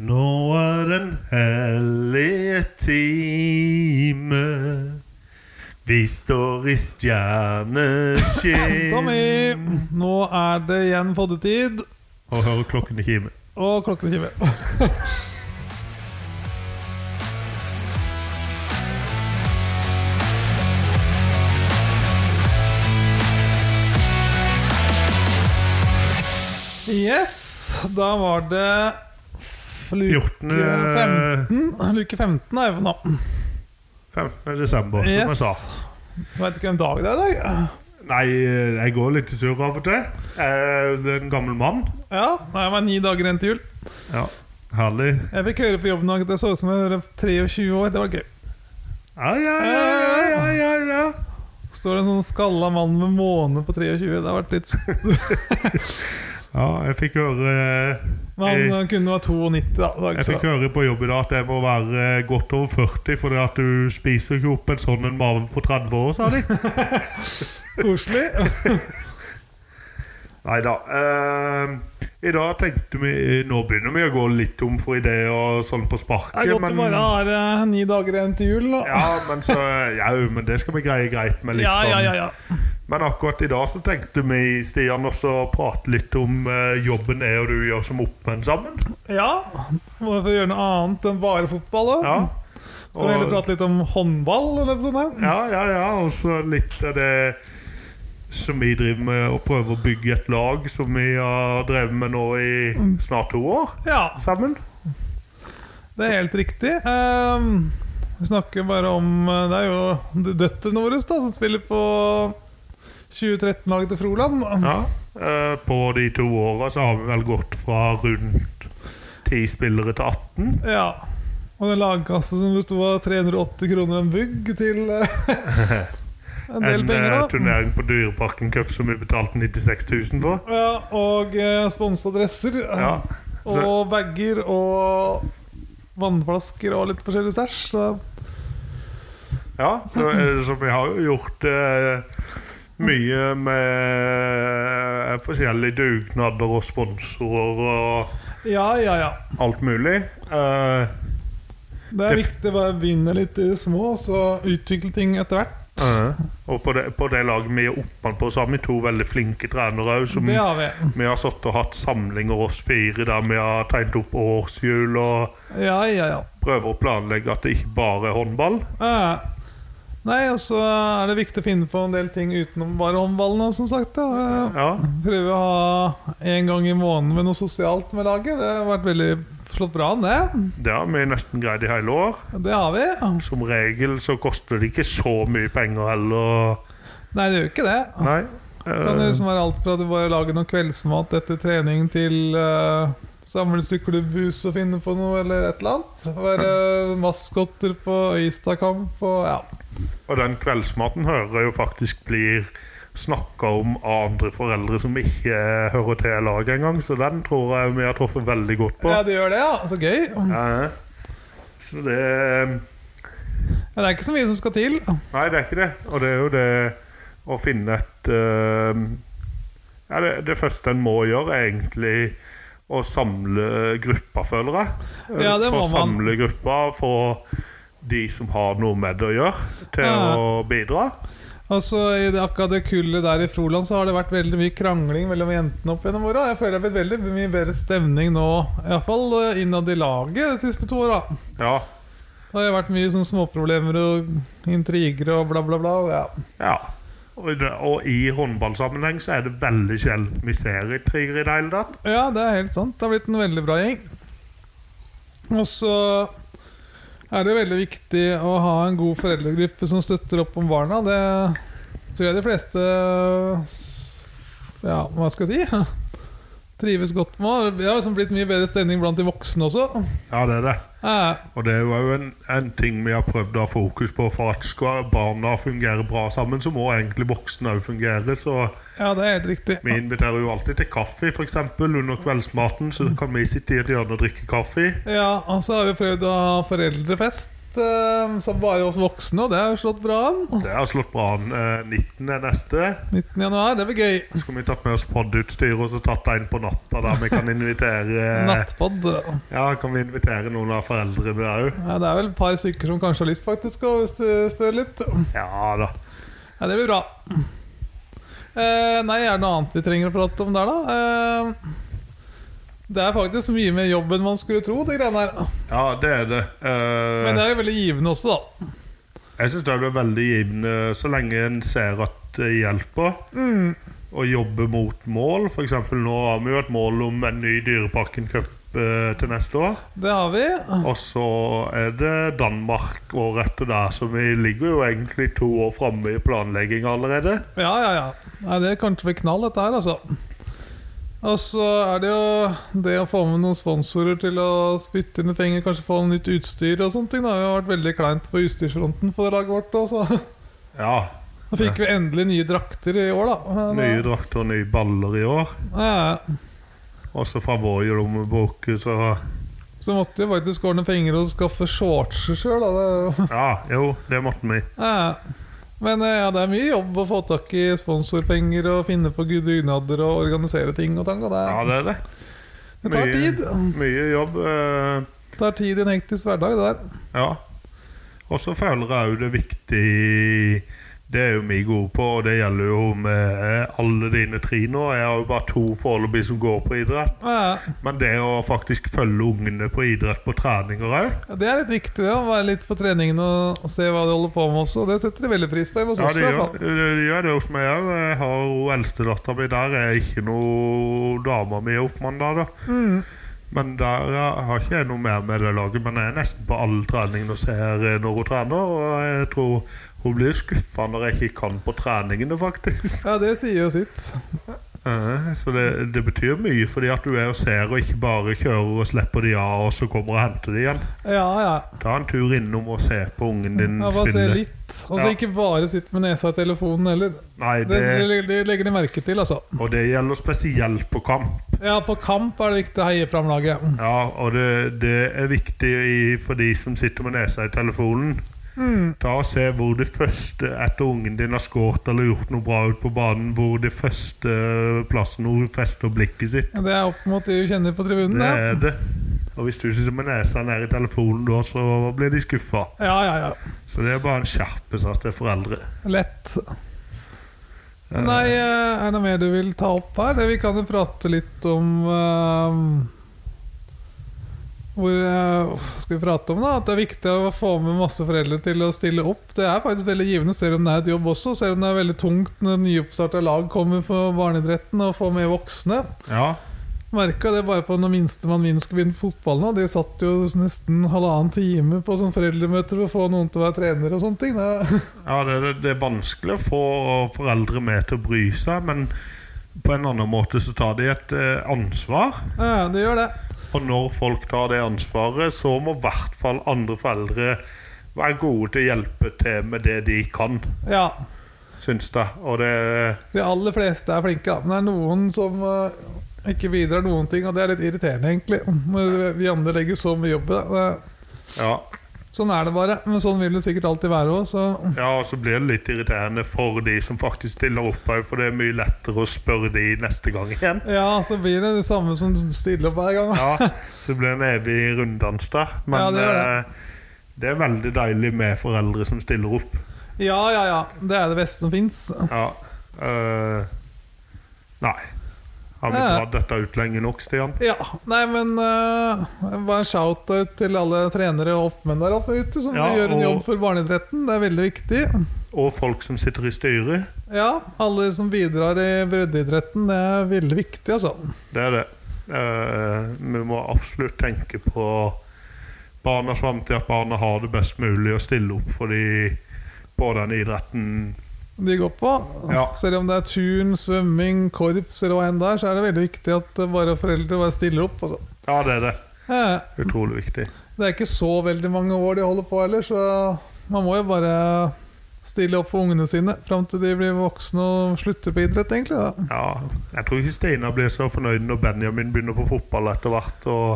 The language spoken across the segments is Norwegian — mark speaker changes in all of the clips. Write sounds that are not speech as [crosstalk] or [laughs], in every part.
Speaker 1: Nå er den hellige time. Vi står i
Speaker 2: [laughs] Tommy,
Speaker 1: stjerneskinn
Speaker 2: nå er det igjen foddetid,
Speaker 1: Og hører klokken i kimen.
Speaker 2: og klokken kimer. Yes, da var det f- luke
Speaker 1: 14.
Speaker 2: 15. Luke 15 er vi på nå.
Speaker 1: 15. desember, som jeg
Speaker 2: Yes.
Speaker 1: sa.
Speaker 2: Jeg vet ikke hvem dag det er i dag.
Speaker 1: Nei, jeg går litt i surr av og til. Jeg er en gammel mann.
Speaker 2: Ja, det er bare ni dager igjen til jul.
Speaker 1: Ja, Herlig.
Speaker 2: Jeg fikk høre på jobben i dag at jeg så ut som jeg var 23 år. Det var gøy.
Speaker 1: Ja, ja, ja, ja, ja, ja, ja.
Speaker 2: Står det en sånn skalla mann med måne på 23. Det har vært litt s-
Speaker 1: ja jeg fikk høre
Speaker 2: Men han eh, kunne være 92, da. Det var
Speaker 1: Jeg
Speaker 2: ikke
Speaker 1: fikk
Speaker 2: så.
Speaker 1: høre på jobb i dag at jeg må være eh, godt over 40, fordi at du spiser ikke opp en sånn en mave på 30 år, sa [laughs] de.
Speaker 2: Koselig.
Speaker 1: Nei da. ehm, I dag tenkte vi Nå begynner vi å gå litt tom for ideer og sånn på
Speaker 2: Det er
Speaker 1: sparket,
Speaker 2: godt det bare er eh, ni dager igjen til jul. Da.
Speaker 1: ja, men så, ja, jo, men det skal vi greie greit med litt
Speaker 2: ja, ja, ja,
Speaker 1: sånn.
Speaker 2: ja.
Speaker 1: Men akkurat i dag så tenkte vi, Stian, også å prate litt om eh, jobben jeg og du gjør som oppmenn sammen.
Speaker 2: ja. Må få gjøre noe annet enn bare fotball. Da.
Speaker 1: Ja.
Speaker 2: Skal vi heller
Speaker 1: Og-
Speaker 2: prate litt om håndball? Eller sånn der?
Speaker 1: Ja, ja, ja. Og så litt av det som vi driver med, å prøve å bygge et lag som vi har drevet med nå i
Speaker 2: Mm.
Speaker 1: snart to år
Speaker 2: Ja,
Speaker 1: sammen.
Speaker 2: det er helt riktig. Ehm, vi snakker bare om eh, Det er jo døtrene våre da, som spiller på 2013-laget til Froland.
Speaker 1: Ja. Eh, På de to åra så har vi vel gått fra rundt ti spillere til 18.
Speaker 2: Ja. Og den lagkassa som besto av 380 kroner en bugg til
Speaker 1: [laughs]
Speaker 2: eh, en del
Speaker 1: En eh,
Speaker 2: penger. da
Speaker 1: turnering på Dyreparken Cup som vi betalte 96 000 for.
Speaker 2: ja, Og eh, sponsa dresser.
Speaker 1: Ja. Så,
Speaker 2: Og bager og vannflasker og litt forskjellig stæsj. så-
Speaker 1: ja, så,
Speaker 2: Mm.
Speaker 1: eh, så vi har jo gjort eh, mye med eh, forskjellige dugnader og sponsorer og
Speaker 2: Ja, ja, ja.
Speaker 1: alt mulig. Eh,
Speaker 2: Det er
Speaker 1: Det-
Speaker 2: viktig å bare begynne litt i det små, så utvikle ting etter hvert.
Speaker 1: og på det, på det laget vi er oppmann på, så har vi to veldig flinke trenere òg. Som
Speaker 2: Det har vi.
Speaker 1: vi har satt og hatt samlinger oss fire der vi har tegnet opp årshjul og
Speaker 2: Ja, ja, ja.
Speaker 1: prøver å planlegge at det ikke bare er håndball.
Speaker 2: Eh, Nei, og så er det viktig å finne på en del ting utenom bare håndballen òg, som sagt. da. Eh,
Speaker 1: Ja,
Speaker 2: Prøve å ha en gang i måneden med noe sosialt med laget. Det har vært veldig slått bra an, det.
Speaker 1: Det har vi nesten greid i hele år.
Speaker 2: Det har vi.
Speaker 1: Som regel så koster det ikke så mye penger heller.
Speaker 2: Nei, det gjør ikke det.
Speaker 1: Nei.
Speaker 2: Kan det
Speaker 1: eh,
Speaker 2: liksom være alt fra at du bare lager noe kveldsmat etter trening, til eh, samles i klubbhus og finne på noe, eller et eller annet. Være maskotter på Øystadkamp og ja.
Speaker 1: og den kveldsmaten hører jeg jo faktisk blir snakka om av andre foreldre som ikke eh, hører til laget engang, så den tror jeg vi har truffet veldig godt på.
Speaker 2: ja, det gjør det, ja. Så gøy. Ja,
Speaker 1: Ja. Så det eh,
Speaker 2: Det er ikke så mye som skal til.
Speaker 1: Nei, det er ikke det. Og det er jo det å finne et eh, Ja, det, det første en må gjøre, er egentlig å samle gruppa, føler jeg.
Speaker 2: Ja, det
Speaker 1: få
Speaker 2: må man.
Speaker 1: samle gruppa, få de som har noe med det å gjøre, til
Speaker 2: Ja.
Speaker 1: å bidra.
Speaker 2: Altså, I det, akkurat det kullet der i Froland så har det vært veldig mye krangling mellom jentene opp gjennom åra. Jeg føler det har blitt veldig mye bedre stemning nå, iallfall eh, innad i laget de siste to åra.
Speaker 1: Ja.
Speaker 2: Det har vært mye sånn småproblemer og intriger og bla, bla, bla. Ja.
Speaker 1: ja. Og, det, og i håndballsammenheng så er det veldig sjelden vi ser intriger i det hele tatt.
Speaker 2: ja, det er helt sant. Det har blitt en veldig bra gjeng. Og så er det veldig viktig å ha en god foreldregruppe som støtter opp om barna. Det tror jeg de fleste s- Ja, hva skal jeg si? [laughs] Trives godt med. Det har liksom blitt mye bedre stemning blant de voksne også.
Speaker 1: Ja, det er det.
Speaker 2: Eh,
Speaker 1: Og det er jo en, en ting vi har prøvd å ha fokus på for at skal barna fungere bra sammen, så må egentlig voksne òg fungere. Så
Speaker 2: Ja, det er helt riktig.
Speaker 1: vi inviterer jo alltid til kaffe, f.eks. under kveldsmaten. Så kan vi sitte i et hjørne og drikke kaffe.
Speaker 2: Ja, og så har vi prøvd å ha foreldrefest. eh, så bare oss voksne, og det har jo slått bra an.
Speaker 1: Det har slått bra an. Eh, 19 er neste.
Speaker 2: 19. januar, det blir gøy.
Speaker 1: Så skulle vi tatt med oss podutstyr og så tatt det inn på natta, der vi kan invitere
Speaker 2: Nattpod. Ja,
Speaker 1: Ja, kan vi invitere noen av foreldrene òg?
Speaker 2: det er vel et par stykker som kanskje har lyst, faktisk, og hvis du spør litt.
Speaker 1: Ja da.
Speaker 2: Ja, det blir bra. Eh, nei, er det noe annet vi trenger å prate om der, da? Eh, det er faktisk mye mer jobb enn man skulle tro, det greiene her.
Speaker 1: Ja, det er det. Eh,
Speaker 2: Men det er jo veldig givende også, da.
Speaker 1: Jeg syns det blir veldig givende så lenge en ser at det hjelper.
Speaker 2: Mm.
Speaker 1: Og jobber mot mål. For eksempel, nå har vi jo et mål om en ny Dyreparken Cup eh, til neste år.
Speaker 2: Det har vi.
Speaker 1: Og så er det Danmark året etter der, så vi ligger jo egentlig to år framme i planlegging allerede.
Speaker 2: Ja, ja, ja. Nei, det kommer til å bli knall, dette her, altså. Og så er det jo det å få med noen sponsorer til å spytte inn litt penger, kanskje få nytt utstyr og sånne ting. da. Det har vært veldig kleint på utstyrsfronten for laget vårt. Og så
Speaker 1: Ja.
Speaker 2: Nå fikk vi endelig nye drakter i år, da. Men,
Speaker 1: Nye drakter og nye baller i år.
Speaker 2: ja, ja.
Speaker 1: Også fra vår lommebok, så
Speaker 2: Så måtte vi faktisk ordne penger og skaffe shortser sjøl. [laughs]
Speaker 1: Ja, jo, det måtte vi.
Speaker 2: Men eh, ja, det er mye jobb å få tak i sponsorpenger og finne på dugnader og organisere ting og tang. Og det,
Speaker 1: Ja, det er det.
Speaker 2: det tar
Speaker 1: mye-
Speaker 2: tid.
Speaker 1: Mye jobb. eh,
Speaker 2: Det tar tid i en hektisk hverdag, det der.
Speaker 1: Ja. Og så føler jeg òg det er viktig Det er jo vi gode på, og det gjelder jo med alle dine tre nå. Jeg har jo bare to foreløpig som går på idrett.
Speaker 2: Ja,
Speaker 1: Men det å faktisk følge ungene på idrett på treninger òg,
Speaker 2: ja, det er litt viktig det, å være litt på treningen og se hva de holder på med også. Det setter de veldig pris på hjemme hos
Speaker 1: ja, det
Speaker 2: oss. i hvert
Speaker 1: gjør
Speaker 2: fall.
Speaker 1: det gjør det hos meg òg. Jeg har jo eldstedattera mi der. Jeg er ikke noe dama mi er oppmandag, da.
Speaker 2: Mm.
Speaker 1: Men der ja, har ikke jeg noe mer med det laget. Men jeg er nesten på all trening og ser eh, når hun trener. Og jeg tror hun blir skuffa når jeg ikke kan på treningene, faktisk. [laughs]
Speaker 2: Ja, det sier jo sitt.
Speaker 1: Eh, Så det, det betyr mye, fordi at du er og ser, og ikke bare kjører og slipper de av, og så kommer og henter de igjen.
Speaker 2: Ja, ja.
Speaker 1: Ta en tur innom og se på ungen din
Speaker 2: ja bare se
Speaker 1: spille.
Speaker 2: litt. Og
Speaker 1: Mm,
Speaker 2: så
Speaker 1: Ja.
Speaker 2: ikke bare sitte med nesa i telefonen heller.
Speaker 1: Nei,
Speaker 2: Det,
Speaker 1: det,
Speaker 2: det, det legger de merke til, altså.
Speaker 1: og det gjelder spesielt på kamp.
Speaker 2: Ja, på kamp er det viktig å heie fram laget. Mm.
Speaker 1: Ja, og det, det er viktig i, for de som sitter med nesa i telefonen.
Speaker 2: Mm.
Speaker 1: Ta og Se hvor det første etter ungen din har skåret eller gjort noe bra ut på banen, hvor det første eh, plassen hun fester blikket sitt.
Speaker 2: Det er opp mot de du kjenner på
Speaker 1: Det
Speaker 2: tribunen. Det.
Speaker 1: er det. Og hvis du sitter med nesa ned i telefonen da, så blir de skuffa.
Speaker 2: Ja, ja, ja.
Speaker 1: Så det er bare en skjerpelse til foreldre.
Speaker 2: Lett. Nei, eh, er det noe mer du vil ta opp her? Det, vi kan jo prate litt om eh, Hvor eh, hva skal vi prate om, da? At det er viktig å få med masse foreldre til å stille opp. Det er faktisk veldig givende, selv om det er et jobb også. Selv om det er veldig tungt når nyoppstarta lag kommer for barneidretten og får med voksne.
Speaker 1: Ja,
Speaker 2: Merka det bare på når minstemann min skulle begynne på fotball nå. De satt jo nesten halvannen time på sånn foreldremøter for å få noen til å være trener og sånne ting. Det,
Speaker 1: Ja, det, det, det er vanskelig å få foreldre med til å bry seg, men på en annen måte så tar de et eh, ansvar.
Speaker 2: [laughs] ja, det gjør det.
Speaker 1: Og når folk tar det ansvaret, så må i hvert fall andre foreldre være gode til å hjelpe til med det de kan,
Speaker 2: Ja.
Speaker 1: syns jeg. Og det
Speaker 2: De aller fleste er flinke, da. Men det er noen som eh, ikke bidrar noen ting, og det er litt irriterende, egentlig. Men Vi andre legger så mye jobb i det.
Speaker 1: Ja,
Speaker 2: Sånn er det bare. Men sånn vil det sikkert alltid være òg, så
Speaker 1: ja og så blir det litt irriterende for de som faktisk stiller opp òg, for det er mye lettere å spørre de neste gang igjen.
Speaker 2: Ja, så blir det det samme som stiller opp hver gang. da.
Speaker 1: Ja, så det blir en evig runddans der. Men
Speaker 2: Ja, det
Speaker 1: det,
Speaker 2: gjør
Speaker 1: eh, det er veldig deilig med foreldre som stiller opp.
Speaker 2: Ja, ja, ja. Det er det beste som fins.
Speaker 1: Ja. øh, nei. Har vi
Speaker 2: Ja.
Speaker 1: dratt dette ut lenge nok, Stian?
Speaker 2: Ja, nei, men eh, bare en shout-out til alle trenere og oppmenn der oppe ute som
Speaker 1: Ja,
Speaker 2: gjør en
Speaker 1: og-
Speaker 2: jobb for barneidretten. Det er veldig viktig.
Speaker 1: Og folk som sitter i styret.
Speaker 2: Ja, alle som bidrar i breddeidretten, det er veldig viktig, altså.
Speaker 1: Det er det. Eh, vi må absolutt tenke på barnas framtid, at barna har det best mulig å stille opp for de på den idretten.
Speaker 2: De går på.
Speaker 1: Ja.
Speaker 2: Selv om det er turn, svømming, korps eller hva enn det er, så er det veldig viktig at eh, bare foreldre bare stiller opp. Altså.
Speaker 1: Ja, det er det.
Speaker 2: Eh,
Speaker 1: Utrolig viktig.
Speaker 2: Det er ikke så veldig mange år de holder på heller, så man må jo bare stille opp for ungene sine fram til de blir voksne og slutter på idrett, egentlig. da.
Speaker 1: Ja, Jeg tror ikke Stina blir så fornøyd når Benjamin begynner på fotball etter hvert. Og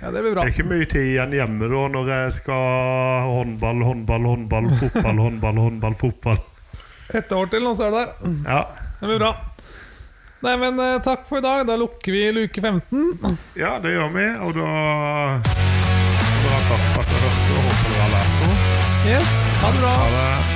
Speaker 2: Ja, det blir bra.
Speaker 1: Det er ikke mye tid igjen hjemme da når jeg skal håndball, håndball, håndball, fotball, håndball, håndball, fotball.
Speaker 2: Et år til, og så er det der.
Speaker 1: Ja,
Speaker 2: Det blir bra. Nei, men eh, takk for i dag. Da lukker vi luke 15.
Speaker 1: ja det gjør vi. Og da da har jeg tatt for at jeg hørte og håper dere har lært noe.
Speaker 2: Yes, ha det bra.
Speaker 1: Ha det.